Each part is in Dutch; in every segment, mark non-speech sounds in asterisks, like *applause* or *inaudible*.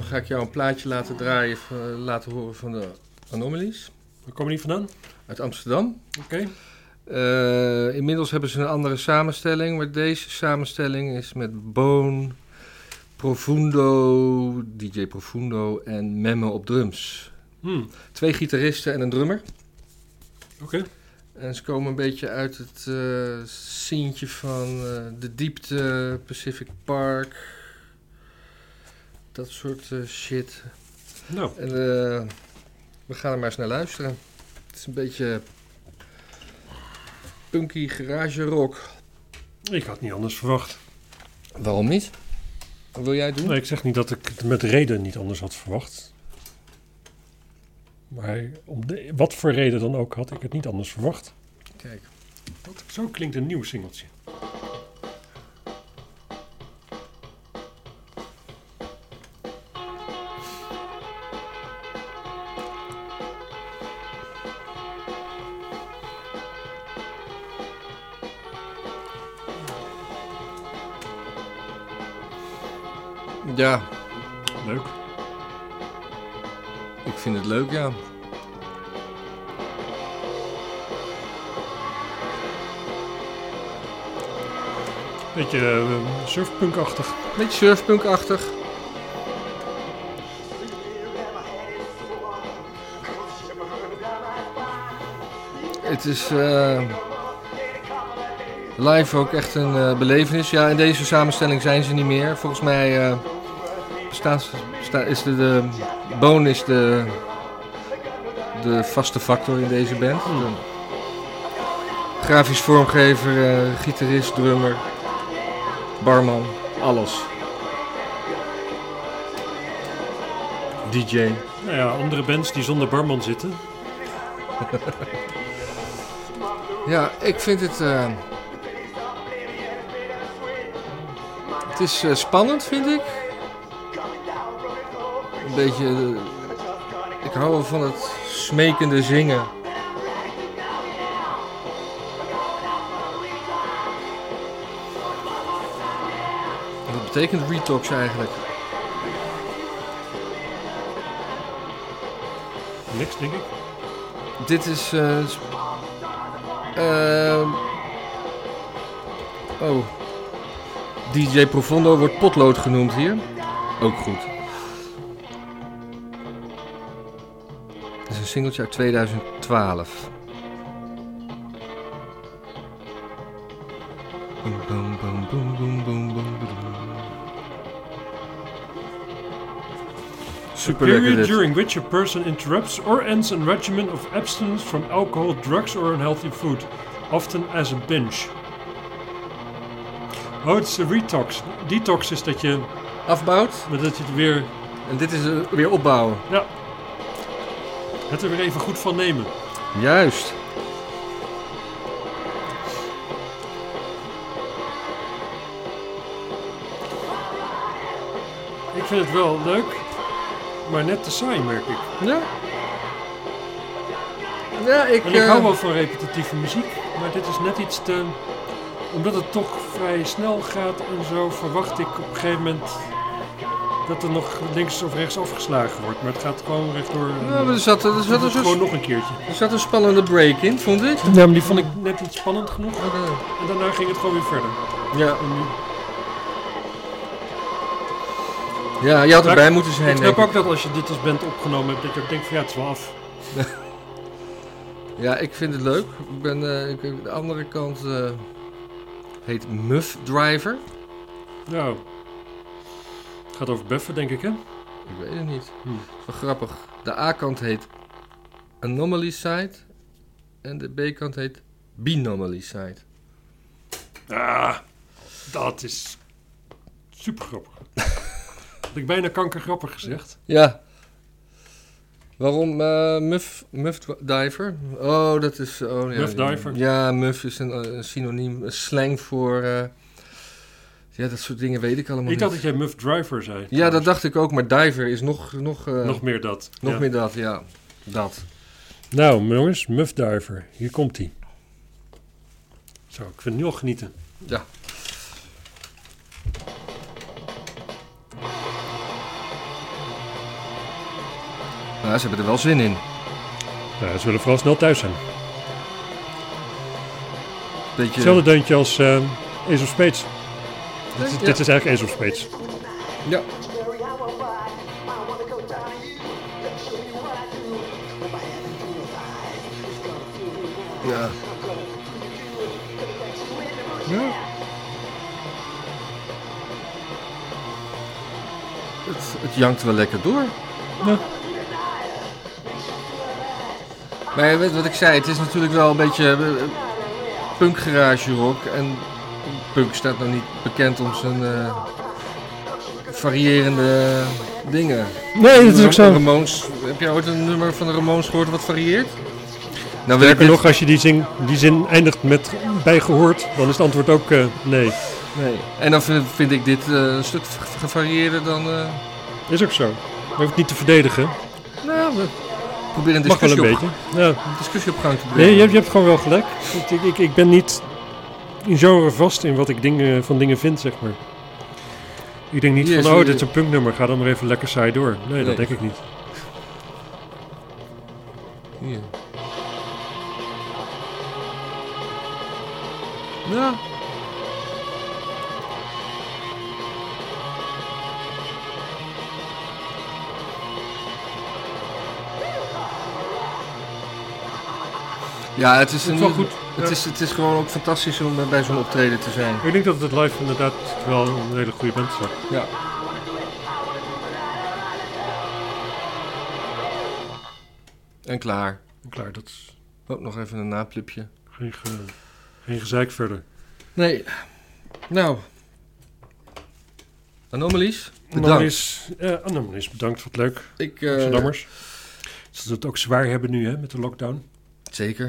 ga ik jou een plaatje laten draaien, van- laten horen van de Anomalies We komen niet vandaan. uit Amsterdam. Oké. Eh, inmiddels hebben ze een andere samenstelling, maar deze samenstelling is met Bone, Profundo, DJ Profundo en Memme op drums. Hmm, Twee gitaristen en een drummer. Oké. En ze komen een beetje uit het eh sceentje van eh, de diepte, Pacific Park, dat soort eh, shit. Nou, En eh, we gaan er maar eens naar luisteren. Het is een beetje punky garage rock. ik had niet anders verwacht. Waarom niet? Wat wil jij het doen? Nee, ik zeg niet dat ik het met reden niet anders had verwacht. Maar om de- wat voor reden dan ook had ik het niet anders verwacht. Kijk. Dat- zo klinkt een nieuw singeltje. Ja, Leuk. ik vind het leuk, ja. Beetje eh, surfpunkachtig. Beetje surfpunkachtig. Het is eh, live ook echt een eh, belevenis. Ja, in deze samenstelling zijn ze niet meer. Volgens mij eh, bestaan ze- besta- is de, de Boon is de, de vaste factor in deze band. De grafisch vormgever, eh, gitarist, drummer, barman, alles. DJ. Nou ja, andere bands die zonder barman zitten. Ja, ik vind het. eh, het is eh, spannend, vind ik. Een beetje. eh, ik hou wel van het smekende zingen. Wat betekent retox eigenlijk? Niks, denk ik. Dit is. eh, s- ehm, oh. DJ Profondo wordt potlood genoemd hier. Ook goed. Dit is een singeltje uit 2012. Boom, boom, boom, boom, boom, boom, boom, boom. Super lekker Period dit. during which a person interrupts or ends a regimen of abstinence from alcohol, drugs or unhealthy food, often as a binge. Oh, het is een retox. Detox is dat je, Afbouwt. dat je het weer, En dit is eh, weer opbouwen. ja, het er weer even goed van nemen. Juist. Ik vind het wel leuk, maar net te saai merk ik. Ja. Ja, ik. En ik eh, hou wel van repetitieve muziek, maar dit is net iets te... Omdat het toch vrij snel gaat en zo, verwacht ik op een gegeven moment dat er nog links of rechts afgeslagen wordt. Maar het gaat gewoon rechtdoor. en ja, maar dus- er zat, er, dan zat doe een ik gewoon soort, nog een keertje. er zat een spannende break in, vond ik. Ja, maar die vond ik net niet spannend genoeg. Maar, eh, En daarna ging het gewoon weer verder. Ja, En nu- ja je had Maar erbij moeten zijn. ik snap denk ook dat als je dit als band opgenomen hebt, dat je ook denkt van ja, het is wel af. Ja, ik vind het leuk. Ik ben, eh, ik- de andere kant eh, heet Muff Driver. Nou, het gaat over buffen denk ik hè. Ik weet het niet. Hmm. Wel grappig. De A-kant heet Anomaly Site. En de B-kant heet Binomaly Site. Ah, dat is super *laughs* grappig. Had ik bijna kankergrappig gezegd. Ja. Waarom eh, Muff, muff Diver? Oh, dat is... Oh, ja, Muff diver. Ja, Muff is een, eh, een synoniem, een slang voor... eh, ja, dat soort dingen weet ik allemaal Ik niet. dacht dat jij Muff Driver zei. Ja, dat trouwens. dacht ik ook, maar diver is nog, nog, eh, nog, Nog meer dat. Ja. meer dat, ja. Dat. Nou, jongens, Muff Driver. Hier komt hij. Zo, ik vind het nu al genieten. Ja. Nou, ze hebben er wel zin in. Nou, ze zullen vooral snel thuis zijn. Beetje, Hetzelfde deuntje als eh Ace of Spades. Dit is, Ja. dit is eigenlijk Ace of Spades. Ja. Ja. Het, het jankt wel lekker door. Ja. Maar je weet wat ik zei, het is natuurlijk wel een beetje eh, punk garage rock. En punk staat nou niet bekend om zijn eh, variërende dingen. Nee, dat is ook zo. Ramones, heb jij ooit een nummer van de Ramones gehoord wat varieert? Nou, weet ik Sterker dit- nog, als je die zin, die zin eindigt met bijgehoord, dan is het antwoord ook eh, nee. Nee. En dan vind, vind ik dit eh, een stuk v- gevarieerder dan. eh Is ook zo. Je hoeft het niet te verdedigen. nou, we proberen een Mag wel discussie, een op, beetje. Ja. een discussie op gang te brengen. Nee, je, hebt- je hebt gewoon wel gelijk. Want Ik, ik, ik ben niet in genre vast in wat ik dingen, van dingen vind, zeg maar. Ik denk niet Hier is van, oh, een- dit is een punknummer, ga dan maar even lekker saai door. Nee, Nee. dat denk ik niet. Hier. Ja. Ja, het is, een, wel goed. Het, Ja. is, het is gewoon ook fantastisch om eh, bij zo'n optreden te zijn. Ik denk dat het live inderdaad wel een hele goede band is. Ja. En klaar. Klaar, dat is Ook nog even een naplipje. geen, ge, geen gezeik verder. Nee. Nou. Anomalies, bedankt. Anomalies, eh Anomalies, bedankt, wat leuk. Ik, eh, Amsterdammers. Ze zullen het ook zwaar hebben nu, hè, met de lockdown. zeker.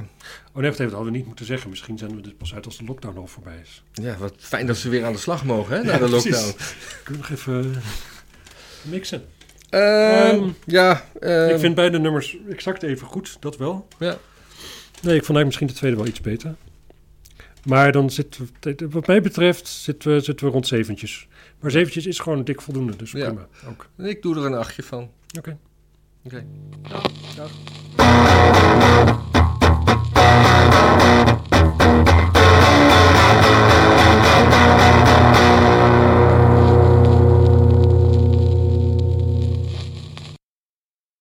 Oh nee, wacht even, dat hadden we niet moeten zeggen. Misschien zijn we dit pas uit als de lockdown al voorbij is. Ja, wat fijn dat ze weer aan de slag mogen, hè, na Ja, de precies. lockdown. Kunnen we nog even eh, mixen? Ehm, Ehm, ja, ehm, ik vind beide nummers exact even goed, dat wel. Ja. Nee, ik vond eigenlijk misschien de tweede wel iets beter. Maar dan zitten we, wat mij betreft, zitten we, zitten we rond zeventjes. Maar zeventjes is gewoon dik voldoende, dus Ja. prima. Ook. ik doe er een achtje van. Oké. Oké.